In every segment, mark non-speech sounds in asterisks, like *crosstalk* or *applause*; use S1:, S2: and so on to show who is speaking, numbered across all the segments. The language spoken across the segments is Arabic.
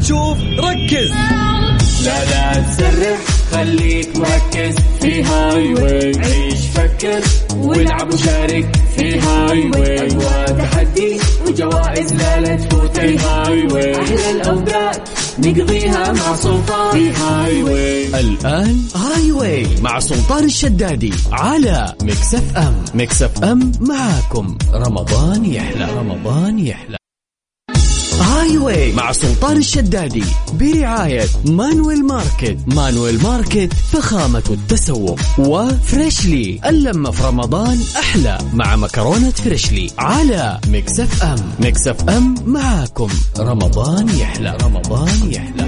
S1: تشوف ركز
S2: لا لا تسرح خليك مركز في هاي واي عيش فكر والعب وشارك في هاي واي أقوى تحدي وجوائز لا لا تفوت الهاي واي أحلى الأوقات نقضيها مع سلطان في هاي واي
S1: الآن هاي واي مع سلطان الشدادي على ميكس اف ام ميكس اف ام معاكم رمضان يحلى رمضان يحلى هاي واي مع سلطان الشدادي برعاية مانويل ماركت مانويل ماركت فخامة التسوق وفريشلي اللمة في رمضان أحلى مع مكرونة فريشلي على ميكس اف ام ميكس اف ام معاكم رمضان يحلى رمضان يحلى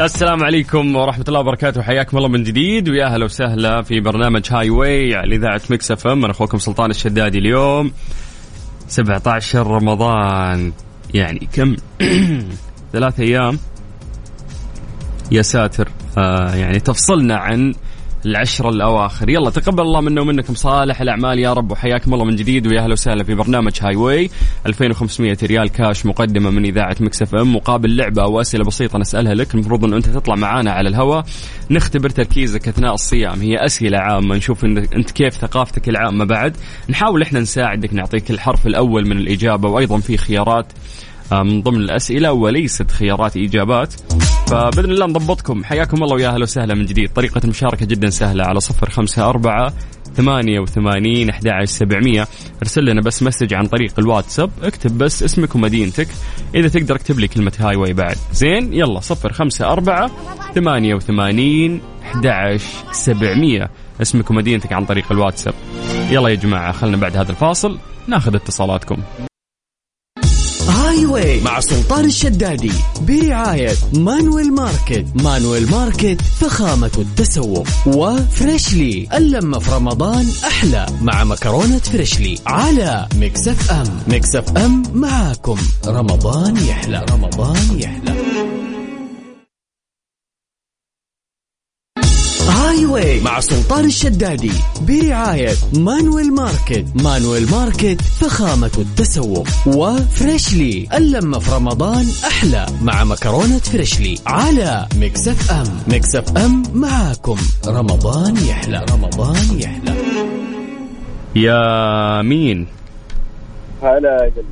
S3: السلام عليكم ورحمة الله وبركاته حياكم الله من جديد ويا اهلا وسهلا في برنامج هاي واي على اذاعة مكس اف ام انا اخوكم سلطان الشدادي اليوم 17 رمضان يعني كم *clears throat* ثلاث ايام يا ساتر آه يعني تفصلنا عن العشرة الأواخر يلا تقبل الله منا ومنكم صالح الأعمال يا رب وحياكم الله من جديد ويا أهلا وسهلا في برنامج هاي واي 2500 ريال كاش مقدمة من إذاعة مكسف أم مقابل لعبة أو أسئلة بسيطة نسألها لك المفروض أن أنت تطلع معانا على الهواء نختبر تركيزك أثناء الصيام هي أسئلة عامة نشوف إن أنت كيف ثقافتك العامة بعد نحاول إحنا نساعدك نعطيك الحرف الأول من الإجابة وأيضا في خيارات آه، من ضمن الأسئلة وليست خيارات إجابات فبإذن الله نضبطكم حياكم الله ويا أهلا وسهلا من جديد طريقة المشاركة جدا سهلة على صفر خمسة أربعة ثمانية وثمانين أحد سبعمية ارسل لنا بس مسج عن طريق الواتساب اكتب بس اسمك ومدينتك إذا تقدر اكتب لي كلمة هاي واي بعد زين يلا صفر خمسة أربعة ثمانية وثمانين أحد سبعمية اسمك ومدينتك عن طريق الواتساب يلا يا جماعة خلنا بعد هذا الفاصل ناخذ اتصالاتكم
S1: هاي واي مع سلطان الشدادي برعاية مانويل ماركت مانويل ماركت فخامة التسوق وفريشلي اللمة في رمضان أحلى مع مكرونة فريشلي على ميكس اف ام ميكس اف ام معاكم رمضان يحلى رمضان يحلى هاي واي مع سلطان الشدادي برعاية مانويل ماركت مانويل ماركت فخامة التسوق وفريشلي اللمة في رمضان أحلى مع مكرونة فريشلي على ميكس اف ام ميكس اف ام معاكم رمضان يحلى رمضان يحلى
S3: يا مين
S4: هلا يا قلبي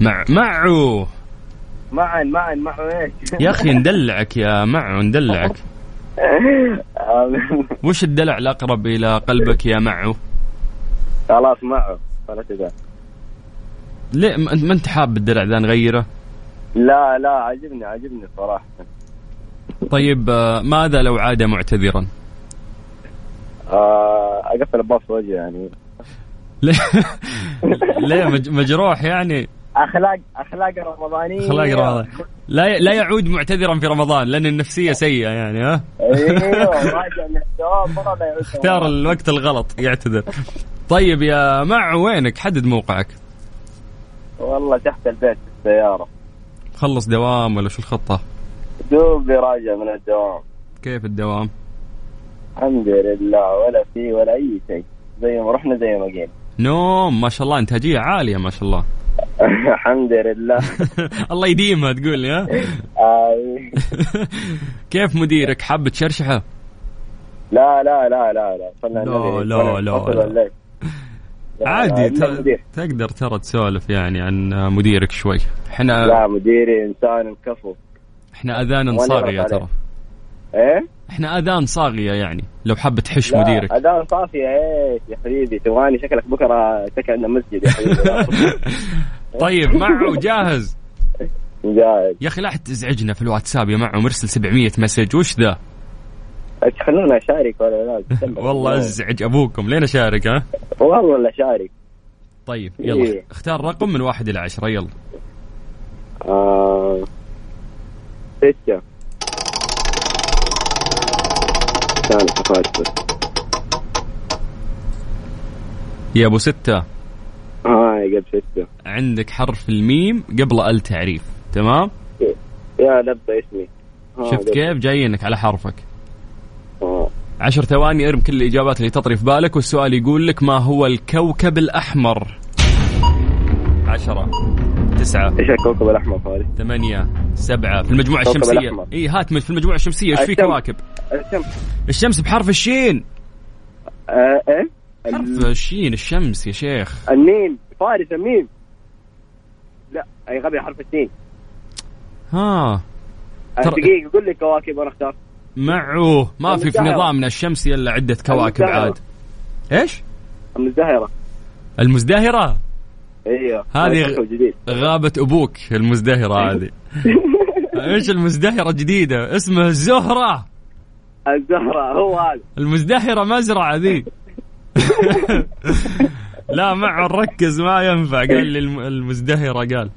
S3: مع معو
S4: معا معا معا ايش؟
S3: يا اخي ندلعك يا معو ندلعك وش الدلع الاقرب الى قلبك يا معو؟
S4: *laughs* خلاص معه خلاص كذا
S3: ليه ما أنت- ما انت حاب الدلع ذا نغيره؟
S4: لا لا عجبني عجبني صراحة
S3: طيب آه، ماذا لو عاد معتذرا؟
S4: آه، اقفل الباص في وجهي يعني
S3: *laughs* ليه ليه مج- مجروح يعني
S4: اخلاق اخلاق رمضانية
S3: اخلاق رمضان لا ي- لا يعود معتذرا في رمضان لان النفسيه سيئه يعني ها
S4: ايوه راجع من الدوام مرة لا يعود
S3: اختار الوقت الغلط يعتذر طيب يا معو وينك حدد موقعك
S4: والله تحت البيت في السيارة
S3: خلص دوام ولا شو الخطه
S4: دوبي راجع من الدوام
S3: كيف الدوام
S4: الحمد لله ولا في ولا اي شيء زي ما رحنا زي ما جينا
S3: نوم ما شاء الله انتاجيه عاليه ما شاء الله
S4: *laughs* الحمد لله
S3: *laughs* الله يديمها تقول لي ها *laughs*
S4: آه،
S3: كيف مديرك حاب تشرشحه
S4: لا لا لا لا لا صلى
S3: لا،
S4: النبي.
S3: لا،
S4: ولا
S3: لا،
S4: فصل
S3: لا.
S4: الليل. لا،
S3: *laughs* عادي
S4: لا،
S3: ت-
S4: مدير.
S3: تقدر ترى تسولف يعني عن مديرك شوي احنا
S4: لا مديري انسان كفو
S3: احنا اذان
S4: ولا
S3: صاغيه
S4: يرد
S3: ترى
S4: عليه. ايه
S3: احنا اذان صاغيه يعني لو حاب تحش
S4: لا،
S3: مديرك
S4: اذان صافيه ايه يا حبيبي تبغاني شكلك بكره شكل عندنا مسجد يا
S3: *laughs*
S4: حبيبي *laughs*
S3: طيب معو جاهز
S4: جاهز
S3: يا اخي لا حد تزعجنا في الواتساب يا معو مرسل 700 مسج وش ذا
S4: إيش خلونا اشارك ولا لا تسلم.
S3: والله ازعج ابوكم لين اشارك ها
S4: والله لا اشارك
S3: طيب يلا
S4: إيه.
S3: اختار رقم من واحد الى عشرة يلا
S4: آه، ستة ثالث خالص
S3: يا ابو ستة
S4: اه يا قلب ستة
S3: عندك حرف الميم قبل ال تعريف تمام
S4: يا لبى اسمي آه،
S3: شفت
S4: قبل.
S3: كيف جايينك على حرفك
S4: آه.
S3: عشر ثواني ارم كل الاجابات اللي تطري في بالك والسؤال يقول لك ما هو الكوكب الاحمر عشرة تسعة
S4: ايش الكوكب الاحمر هذا؟
S3: ثمانية سبعة في المجموعة
S4: الكوكب
S3: الشمسية
S4: الأحمر.
S3: اي هات من- في المجموعة الشمسية ايش في
S4: الشمس.
S3: كواكب؟
S4: الشمس
S3: الشمس بحرف الشين
S4: آه، ايه
S3: حرف
S4: ال-
S3: الشين الشمس يا شيخ
S4: النيل فارس الميم لا اي غبي حرف السين
S3: ها ترى-
S4: دقيقة قول لي كواكب وانا اختار
S3: معوه ما في في
S4: المزدهرة.
S3: نظامنا الشمسي الا عدة كواكب
S4: المزدهرة.
S3: عاد ايش؟
S4: من الزهرة
S3: المزدهرة
S4: ايوه
S3: هذه-
S4: كوكب جديد
S3: غابة أبوك المزدهرة هذه إيش المزدهرة الجديدة اسمها الزهرة
S4: الزهرة هو هذا
S3: المزدهرة مزرعة ذي *laughs* لا معه ركز ما ينفع قال لي الم- المزدهرة قال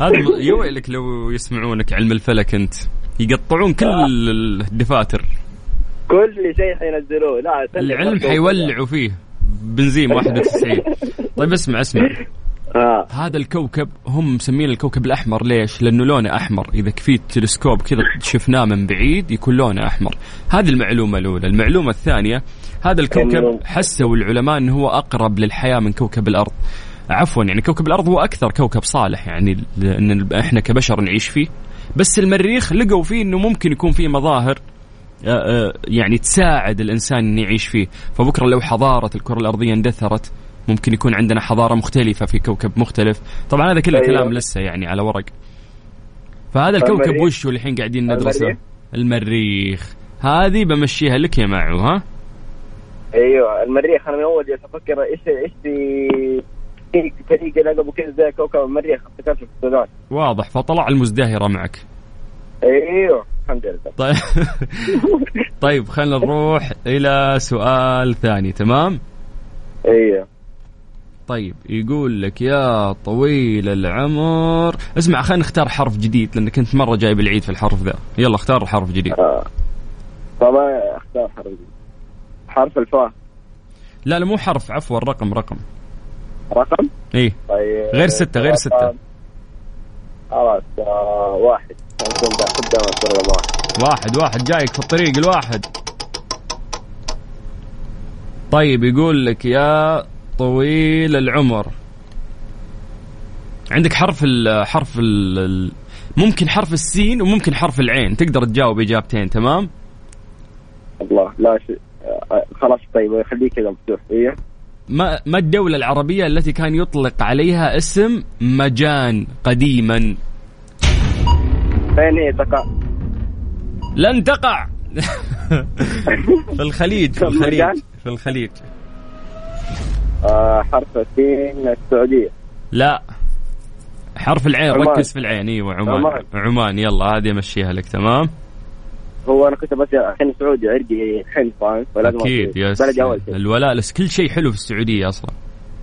S3: هذا م- يا ويلك لو يسمعونك علم الفلك أنت يقطعون كل ال- الدفاتر
S4: كل شيء حينزلوه لا سلم
S3: العلم
S4: نفسه.
S3: حيولعوا فيه بنزيم 91 طيب اسمع اسمع
S4: آه.
S3: هذا الكوكب هم مسمينه الكوكب الاحمر ليش؟ لانه لونه احمر، اذا كفيت تلسكوب كذا شفناه من بعيد يكون لونه احمر. هذه المعلومه الاولى، المعلومه الثانيه هذا الكوكب
S4: إنه-
S3: حسوا العلماء انه هو اقرب للحياه من كوكب الارض. عفوا يعني كوكب الارض هو اكثر كوكب صالح يعني لان احنا كبشر نعيش فيه. بس المريخ لقوا فيه انه ممكن يكون فيه مظاهر آه، آه، يعني تساعد الانسان انه يعيش فيه، فبكره لو حضاره الكره الارضيه اندثرت ممكن يكون عندنا حضاره مختلفه في كوكب مختلف، طبعا هذا كله
S4: أيوة.
S3: كلام لسه يعني على ورق. فهذا الكوكب
S4: المريخ.
S3: وش هو الحين قاعدين ندرسه؟
S4: المريخ.
S3: المريخ. هذه بمشيها لك يا معو ها؟
S4: ايوه المريخ انا من اول جالس افكر ايش ايش في في فريق لقبه كذا زي كوكب المريخ افتكرته في السودان
S3: واضح فطلع المزدهره معك.
S4: ايوه الحمد لله
S3: طيب *laughs* طيب خلينا نروح الى سؤال ثاني تمام؟
S4: ايوه
S3: طيب يقول لك يا طويل العمر اسمع خلينا نختار حرف جديد لانك كنت مره جايب العيد في الحرف ذا يلا اختار حرف جديد
S4: آه. فما اختار حرف حرف الفاء
S3: لا لا مو حرف عفوا رقم رقم
S4: رقم
S3: ايه
S4: طيب
S3: غير ستة، غير
S4: رقم.
S3: ستة.
S4: خلاص آه، واحد نكون قدام الرقم واحد
S3: واحد واحد جايك في الطريق الواحد طيب يقول لك يا طويل العمر عندك حرف ال حرف ال ال- ممكن حرف السين وممكن حرف العين تقدر تجاوب اجابتين تمام
S4: الله لا شيء آه، خلاص طيب خليه كذا مفتوح ايوه
S3: ما ما الدولة العربية التي كان يطلق عليها اسم مجان قديما؟
S4: فين هي تقع؟
S3: لن تقع *laughs* في الخليج في
S4: طب
S3: الخليج
S4: مجان؟
S3: في الخليج
S4: آه، حرف السين السعوديه
S3: لا حرف العين
S4: عمان.
S3: ركز في العين ايوه عمان
S4: عمان.
S3: عمان يلا هذه امشيها لك تمام
S4: هو انا كنت بس الحين سعودي عرقي حين فاهم فلازم
S3: اكيد
S4: أصير.
S3: يس
S4: بلدي اول شيء
S3: الولاء لس كل شيء حلو في السعوديه اصلا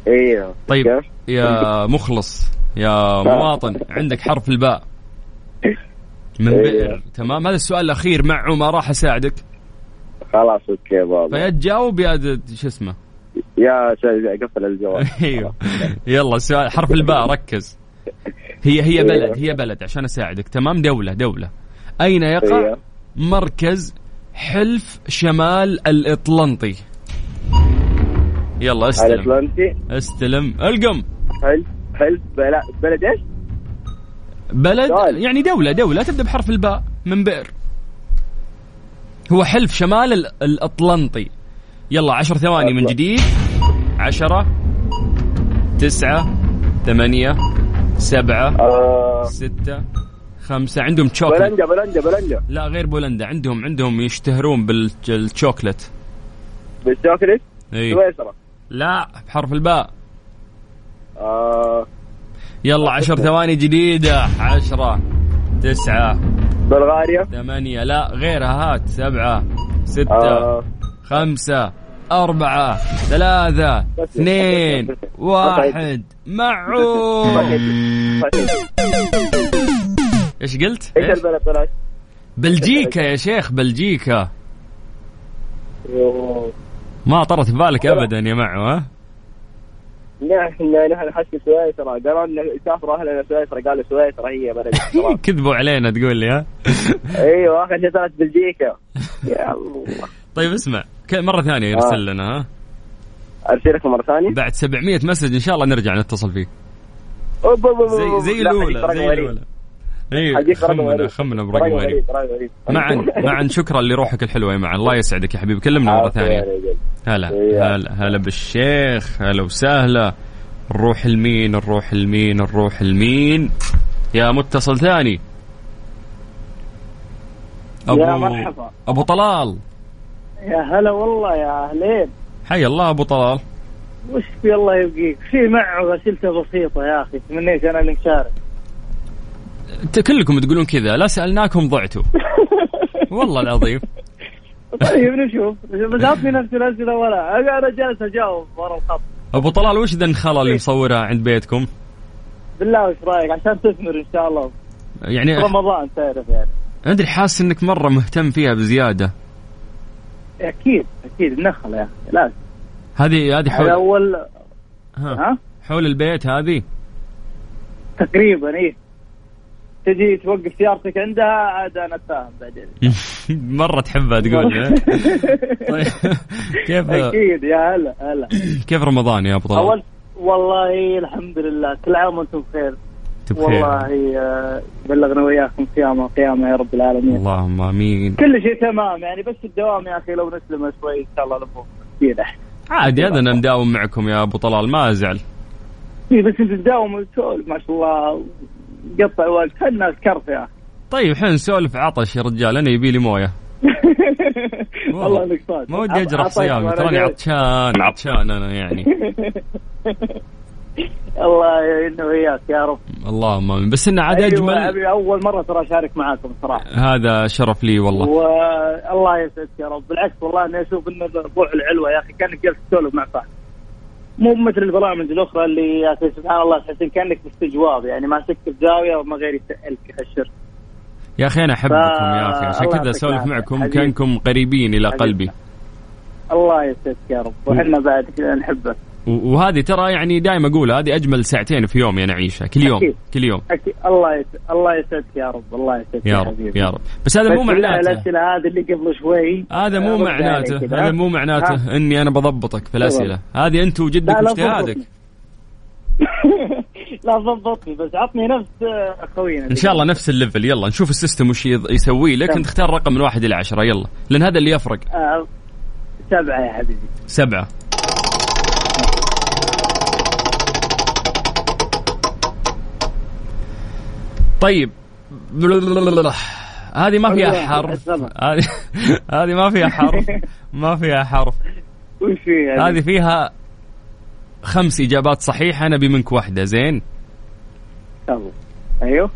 S4: ايوه
S3: طيب
S4: كيف؟
S3: يا مخلص يا مواطن عندك حرف الباء من
S4: إيه.
S3: بئر تمام هذا السؤال الاخير مع ما راح اساعدك
S4: خلاص اوكي بابا
S3: فيا تجاوب يا د- شو اسمه
S4: يا شيخ قفل
S3: *laughs*
S4: الجوال
S3: ايوه يلا سؤال حرف الباء ركز هي
S4: إيه.
S3: هي بلد هي بلد عشان اساعدك تمام دوله دوله اين يقع
S4: أيوه.
S3: مركز حلف شمال الاطلنطي يلا
S4: على
S3: استلم
S4: اتلانتي
S3: استلم القم
S4: حلف حلف بلا- بلد ايش؟
S3: بلد
S4: سؤال.
S3: يعني دولة دولة تبدأ بحرف الباء من بئر هو حلف شمال ال- الأطلنطي يلا عشر ثواني من
S4: أطلع.
S3: جديد عشرة تسعة ثمانية سبعة
S4: آه،
S3: ستة خمسة عندهم تشوكلت
S4: بولندا بولندا بولندا
S3: لا غير بولندا عندهم عندهم يشتهرون بالشوكلت
S4: بالشوكلت
S3: اي
S4: سويسرا
S3: لا بحرف الباء
S4: آه،
S3: يلا عشر ثواني جديدة عشرة تسعة
S4: بلغاريا
S3: ثمانية لا غيرها هات سبعة ستة
S4: آه،
S3: خمسة أربعة ثلاثة
S4: بس.
S3: اثنين
S4: بس.
S3: واحد معو ايش قلت؟
S4: ايش
S3: إيش؟
S4: البلد بلاش؟
S3: بلجيكا يا شيخ بلجيكا
S4: أوه.
S3: ما طرت بالك
S4: أيوة.
S3: ابدا يا معو ها؟
S4: نحن نحن حسب سويسرا قالوا لنا سافروا اهلنا سويسرا قالوا سويسرا هي بلد إيوه، السلام.
S3: *laughs* كذبوا علينا تقول لي ها؟ *laughs*
S4: ايوه اخر شيء طلعت بلجيكا يا الله
S3: طيب اسمع ك- مره ثانيه
S5: آه.
S3: ارسل لنا ها
S5: ارسل لك مره ثانيه
S3: بعد 700 مسج ان شاء الله نرجع نتصل فيك
S5: أوب أوب أوب
S3: زي
S5: أوب.
S3: زي
S5: لا، حديث
S3: الاولى
S5: رقم
S3: زي
S5: غريب.
S3: الاولى اي
S5: حديث رقم
S3: خمنا
S5: غريب.
S3: خمنا برقم
S5: رقم
S3: غريب
S5: غريب، رقم غريب. *laughs*
S3: معا
S4: *laughs*
S3: معا شكرا لروحك الحلوه يا معا الله يسعدك يا حبيبي كلمنا مره
S5: عافية
S3: ثانيه
S5: يا رجال.
S3: هلا
S5: يا.
S3: هلا هلا بالشيخ هلا وسهلا نروح لمين نروح لمين نروح لمين يا متصل ثاني ابو
S4: يا مرحبا.
S3: ابو طلال
S4: يا هلا والله يا اهلين
S3: حي الله ابو طلال
S4: وش في الله يبقيك في معه اسئلته بسيطه يا اخي تمنيت انا اللي مشارك
S3: انت كلكم تقولون كذا لا سالناكم
S4: *laughs*
S3: ضعتوا والله العظيم
S4: طيب نشوف بس اعطني نفس الاسئله ولا انا جالس اجاوب ورا الخط
S3: ابو طلال وش ذا النخله
S4: إيه.
S3: اللي مصورها عند بيتكم
S4: بالله وش رايك عشان تثمر ان شاء الله
S3: يعني
S4: رمضان تعرف يعني
S3: ادري حاسس انك مره مهتم فيها بزياده
S4: اكيد اكيد النخله يا اخي لازم
S3: هذه هذه
S4: على
S3: حول
S4: اول
S3: ها
S4: ها
S3: حول البيت هذه *laughs*
S4: تقريبا ايه تجي توقف سيارتك عندها عاد انا اتفاهم بعدين
S3: مره تحبها تقول ها؟ *laughs* طيب كيف
S4: اكيد يا هلا هلا
S3: كيف رمضان يا ابو طلال؟
S4: اول والله الحمد لله كل عام وانتم بخير
S3: انت بخير
S4: والله آه، بلغنا وياكم صيامه قيامه يا رب العالمين
S3: اللهم امين
S4: كل شيء تمام يعني بس الدوام يا اخي لو نسلم شوي ان شاء الله نبوك كثير احسن
S3: عادي هذا انا مداوم معكم يا ابو طلال ما ازعل
S4: إيه، بس انت تداوم وتسولف ما شاء الله قطع وقت خلنا الكرف يا اخي
S3: طيب الحين نسولف عطش يا رجال انا يبي لي مويه
S4: والله انك صادق
S3: ما ودي اجرح
S4: عطيت
S3: صيامي
S4: وأنا
S3: تراني
S4: قاعد.
S3: عطشان عطشان انا يعني
S4: الله يعيننا وياك يا رب
S3: اللهم امين بس انه عاد
S4: أيوة،
S3: اجمل
S4: أبي اول مره ترى اشارك معاكم صراحه
S3: هذا شرف لي والله
S4: والله يسعدك يا رب بالعكس والله انا اشوف ان الربوع العلوه يا اخي كانك جالس تسولف مع صاحبك مو مثل البرامج الاخرى اللي يا اخي سبحان الله تحس إن كانك باستجواب يعني ماسك في زاويه وما غير يسالك يحشر
S3: يا اخي انا احبكم يا اخي عشان
S4: الله
S3: كذا
S4: يعطيك
S3: اسولف
S4: العافية.
S3: معكم
S4: حبيبي.
S3: كانكم قريبين الى
S4: حبيبي.
S3: قلبي
S4: الله يسعدك يا رب واحنا بعد كذا نحبك
S3: و- وهذه ترى يعني دائما اقول هذه اجمل ساعتين في يومي انا اعيشها كل يوم
S4: أكيد.
S3: كل يوم
S4: أكيد الله يسعدك الله يسعدك يا رب الله يسعدك
S3: يا رب
S4: حبيبي
S3: يا رب بس هذا مو
S4: بس لا،
S3: معناته
S4: الاسئله هذه اللي قبل شوي
S3: هذا مو
S4: رد علي
S3: معناته
S4: يعني كذا.
S3: هذا مو معناته اني انا بضبطك في الاسئله هذه انت وجدك
S4: لا، لا
S3: واجتهادك
S4: تضبطني. *laughs* لا ضبطني بس عطني نفس آه، خوينا
S3: ان شاء الله نفس الليفل يلا نشوف السيستم وش يض- يسوي لك
S4: تمام.
S3: انت اختار رقم من واحد الى عشره يلا لان هذا اللي يفرق
S4: آه، سبعه يا حبيبي
S3: سبعه طيب هذه ما فيها حرف هذه *laughs* هذه ما فيها حرف ما فيها حرف
S4: وش في هذه؟
S3: هذه فيها خمس اجابات صحيحه انا منك واحده زين
S4: تفضل. ايوه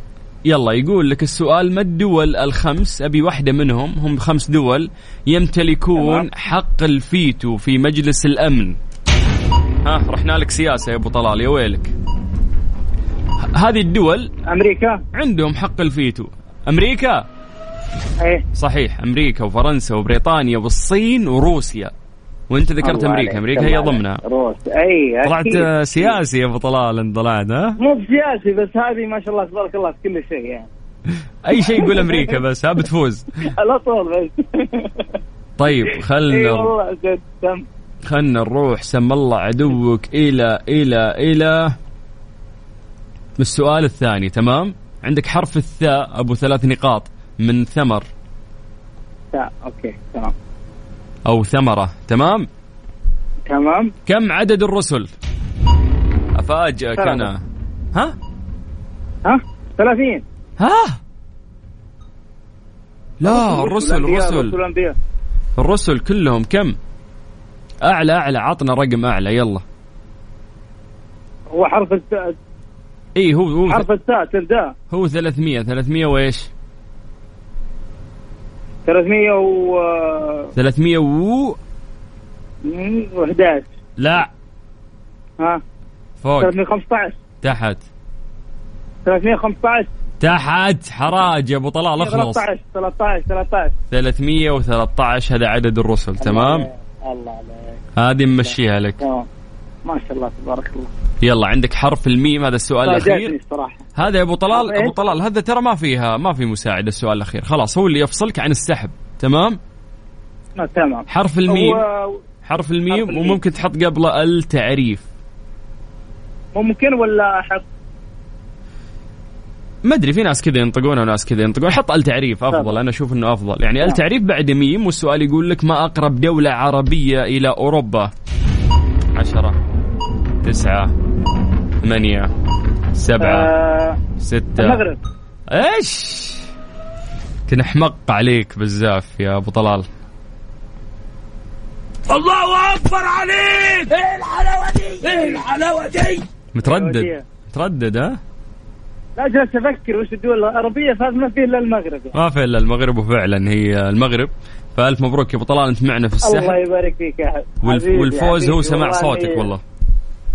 S3: يلا يقول لك السؤال ما الدول الخمس ابي واحده منهم هم خمس دول يمتلكون
S4: تمام.
S3: حق الفيتو في مجلس الامن ها رحنا لك سياسه يا ابو طلال يا ويلك ه- هذه الدول
S4: امريكا
S3: عندهم حق الفيتو امريكا
S4: ايه
S3: صحيح امريكا وفرنسا وبريطانيا والصين وروسيا وانت ذكرت
S4: الله عليك،
S3: امريكا امريكا
S4: الله
S3: هي
S4: عليك.
S3: ضمنها
S4: روس اي
S3: طلعت
S4: أكيد.
S3: آه، سياسي يا ابو طلال انت طلعت ها
S4: مو بسياسي بس هذه ما شاء الله تبارك الله في كل شيء يعني
S3: اي شيء يقول امريكا بس ها بتفوز
S4: على طول بس
S3: طيب
S4: اي
S3: خلنا
S4: إيه، والله جد تم
S3: خلنا نروح سم الله عدوك الى الى الى السؤال الثاني تمام عندك حرف الثاء ابو ثلاث نقاط من ثمر
S4: تا- اوكي تمام
S3: او ثمره تمام
S4: تمام
S3: كم عدد الرسل افاجئك
S4: ثلاثة.
S3: انا ها
S4: ها 30
S3: ها لا آه، الرسل
S4: والأنبياء،
S3: الرسل
S4: والأنبياء.
S3: الرسل كلهم كم اعلى اعلى عطنا رقم اعلى يلا
S4: هو حرف التاء
S3: اي إيه، هو هو
S4: حرف التاء تبدا
S3: هو 300 300 وايش
S4: 311
S3: 300 و لا
S4: ها
S3: فوق
S4: 315
S3: تحت
S4: 315
S3: تحت حراج يا ابو طلال اخلص
S4: 13 13 13
S3: 313 هذا عدد الرسل تمام
S4: الله عليك
S3: هذه نمشيها لك
S4: تمام ما شاء الله تبارك الله
S3: يلا عندك حرف الميم هذا السؤال
S4: فاجأتني
S3: الاخير
S4: الصراحه
S3: هذا يا ابو طلال
S4: إيه؟
S3: ابو طلال هذا ترى ما فيها ما في مساعده السؤال الاخير خلاص هو اللي يفصلك عن السحب تمام
S6: آه، تمام
S3: حرف الميم
S6: هو
S3: حرف الميم
S6: الميم.
S3: وممكن تحط قبله التعريف
S6: ممكن ولا احط
S3: ما ادري في ناس كذا ينطقون وناس كذا ينطقون حط التعريف افضل
S6: طبعا.
S3: انا اشوف انه افضل يعني
S6: نعم.
S3: التعريف بعد ميم والسؤال يقول لك ما اقرب دوله عربيه الى اوروبا عشرة تسعة ثمانية سبعة
S6: آه
S3: ستة
S6: المغرب
S3: ايش كنا احمق عليك بزاف يا ابو طلال الله اكبر عليك ايه الحلاوه دي ايه الحلاوه دي متردد
S6: الحلاوة
S3: متردد ها
S6: لا جالس افكر وش الدول العربيه فهذا ما فيه الا المغرب يعني.
S3: ما في الا المغرب وفعلا هي المغرب فالف مبروك يا ابو طلال انت معنا في
S6: الله
S3: السحب
S6: يبارك فيك يا حبيبي
S3: والف
S6: حبيبي،
S3: والفوز هو
S6: حبيبي،
S3: سماع صوتك والله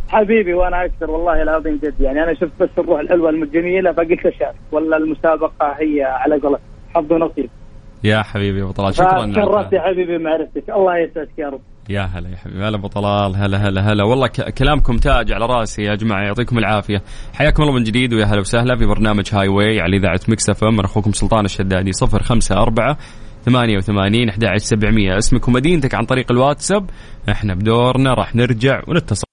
S6: حبيبي وانا اكثر والله العظيم جد يعني انا شفت بس الروح الحلوه الجميله فقلت اشارك ولا المسابقه هي على قولك حظ ونصيب
S3: يا حبيبي يا ابو طلال شكرا
S6: شرفت
S3: على-
S6: يا حبيبي معرفتك الله يسعدك يا رب
S3: يا هلا يا حبيبي هلا ابو طلال هلا هلا هلا والله ك- كلامكم تاج على راسي يا جماعه يعطيكم العافيه حياكم الله من جديد ويا هلا وسهلا في برنامج هاي واي على اذاعه مكس اف ام اخوكم سلطان الشدادي 054 88 11700 اسمك ومدينتك عن طريق الواتساب احنا بدورنا راح نرجع ونتصل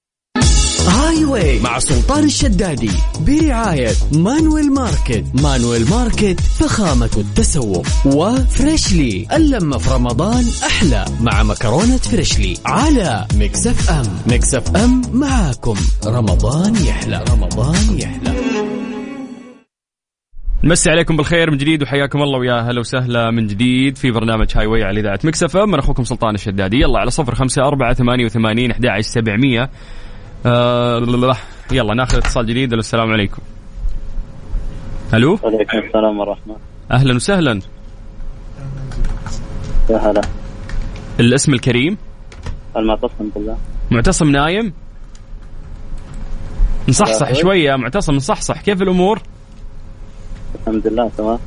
S1: هاي واي مع سلطان الشدادي برعاية مانويل ماركت مانويل ماركت فخامة التسوق وفريشلي اللمة في رمضان أحلى مع مكرونة فريشلي على مكسف أم مكسف أم معاكم رمضان يحلى رمضان يحلى
S3: نمسي عليكم بالخير من جديد وحياكم الله ويا هلا وسهلا من جديد في برنامج هاي واي على اذاعه مكس اف ام من اخوكم سلطان الشدادي يلا على صفر خمسة أربعة ثمانية وثمانين أحد عشر سبعمية آه لله. يلا ناخذ اتصال جديد ألو، السلام عليكم الو
S4: وعليكم السلام ورحمة
S3: اهلا وسهلا
S4: يا هلا
S3: الاسم الكريم
S4: المعتصم بالله
S3: معتصم نايم مصحصح
S4: أهلا.
S3: شويه يا معتصم مصحصح كيف الامور
S4: الحمد لله تمام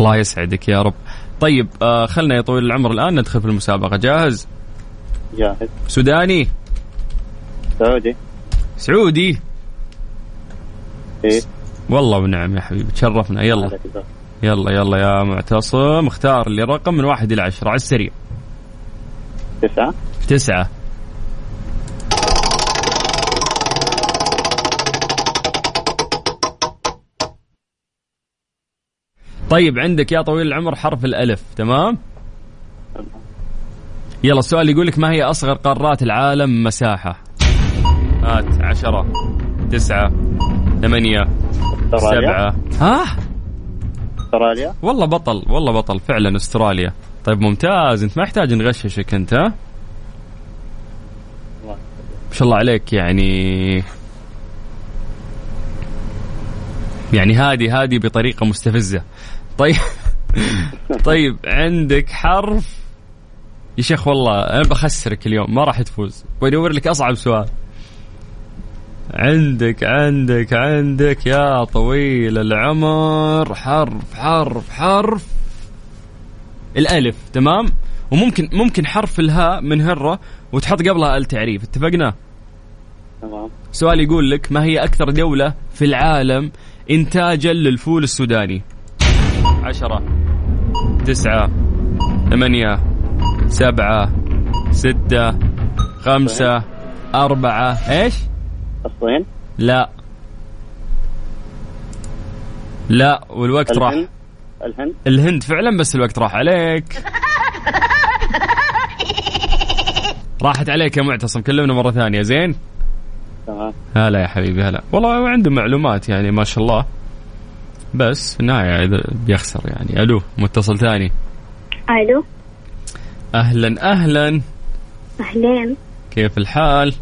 S3: الله يسعدك يا رب طيب آه خلنا يا طويل العمر الان ندخل في المسابقه جاهز
S4: جاهز
S3: سوداني
S4: سعودي
S3: سعودي
S4: ايه
S3: والله ونعم يا حبيبي تشرفنا يلا
S4: عليك الزهر.
S3: يلا يلا يا معتصم اختار لي رقم من واحد الى عشرة على السريع
S4: تسعة
S3: تسعة طيب عندك يا طويل العمر حرف الألف تمام يلا السؤال يقول لك ما هي أصغر قارات العالم مساحة هات عشرة تسعة ثمانية
S4: استراليا
S3: سبعة ها
S4: استراليا
S3: والله بطل والله بطل فعلا استراليا طيب ممتاز انت ما يحتاج نغششك انت ها
S4: الله.
S3: ما شاء الله عليك يعني يعني هادي هادي بطريقة مستفزة طيب *laughs* طيب عندك حرف يا شيخ والله انا بخسرك اليوم ما راح تفوز بدور لك اصعب سؤال عندك عندك عندك يا طويل العمر حرف حرف حرف الالف تمام وممكن ممكن حرف الهاء من هره وتحط قبلها التعريف اتفقنا
S4: تمام
S3: سؤال يقول لك ما هي اكثر دوله في العالم انتاجا للفول السوداني عشرة تسعة ثمانية سبعة ستة خمسة أربعة إيش؟
S4: الصين
S3: لا لا والوقت راح
S4: الهند الهند
S3: الهند فعلا بس الوقت راح عليك راحت عليك يا معتصم كلمنا مرة ثانية زين
S4: تمام
S3: هلا يا حبيبي هلا والله عنده معلومات يعني ما شاء الله بس نايع اذا بيخسر يعني الو متصل ثاني
S7: الو
S3: اهلا اهلا
S7: اهلين
S3: كيف الحال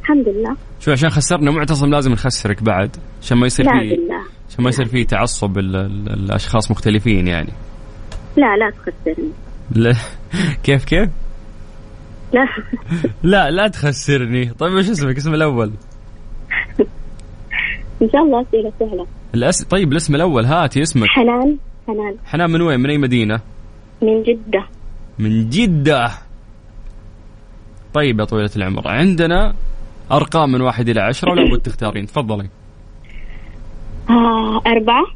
S7: الحمد لله
S3: شو عشان خسرنا معتصم لازم نخسرك بعد عشان ما يصير
S7: لا
S3: في
S7: بالله
S3: عشان ما يصير في تعصب ال- ال- الاشخاص مختلفين يعني
S7: لا لا تخسرني
S3: لا *laughs* كيف كيف؟
S7: لا *laughs*
S3: لا لا تخسرني، طيب وش اسمك؟ اسم الاول؟
S7: ان شاء الله اسئله سهله
S3: الأس... طيب الاسم الاول هاتي اسمك،
S7: حنان حنان
S3: حنان من وين؟ من اي مدينة؟
S7: من جده
S3: من جدة. طيب يا طويلة العمر، عندنا ارقام من واحد الى عشرة ولو بد تختارين، تفضلي.
S7: آه أربعة *coughs*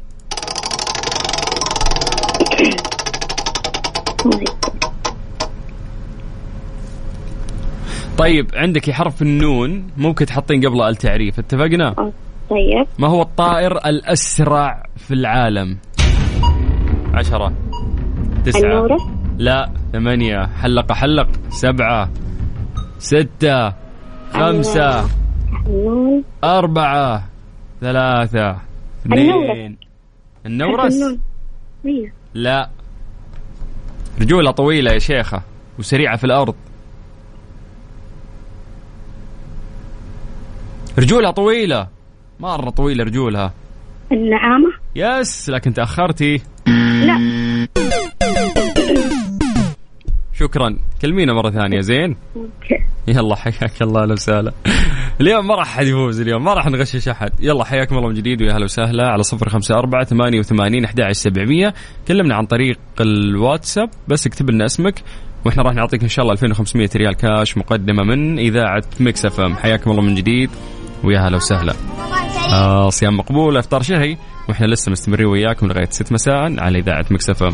S3: طيب عندك حرف النون ممكن تحطين قبله التعريف اتفقنا
S7: آه، طيب
S3: ما هو الطائر الأسرع في العالم عشرة تسعة
S7: النورة
S3: لا ثمانية حلقة حلق سبعة ستة خمسة
S7: النون
S3: أربعة ثلاثة اثنين النورس
S7: *laughs* النون أيوة.
S3: لا رجولة طويلة يا شيخة وسريعة في الأرض رجولها طويلة مرة طويلة رجولها
S7: النعامة
S3: يس لكن تأخرتي
S7: لا
S3: شكرا كلمينا مرة ثانية زين
S7: أوكي.
S3: يلا حياك الله اهلا وسهلا اليوم ما راح احد يفوز اليوم ما راح نغشش احد يلا حياكم الله من جديد ويا اهلا وسهلا على صفر خمسة أربعة ثمانية وثمانين أحد سبعمية كلمنا عن طريق الواتساب بس اكتب لنا اسمك واحنا راح نعطيك ان شاء الله 2500 ريال كاش مقدمة من إذاعة مكس اف ام حياكم الله من جديد ويا هلا وسهلا آه صيام مقبول افطار شهي واحنا لسه مستمرين وياكم لغايه 6 مساء على اذاعه مكس اف ام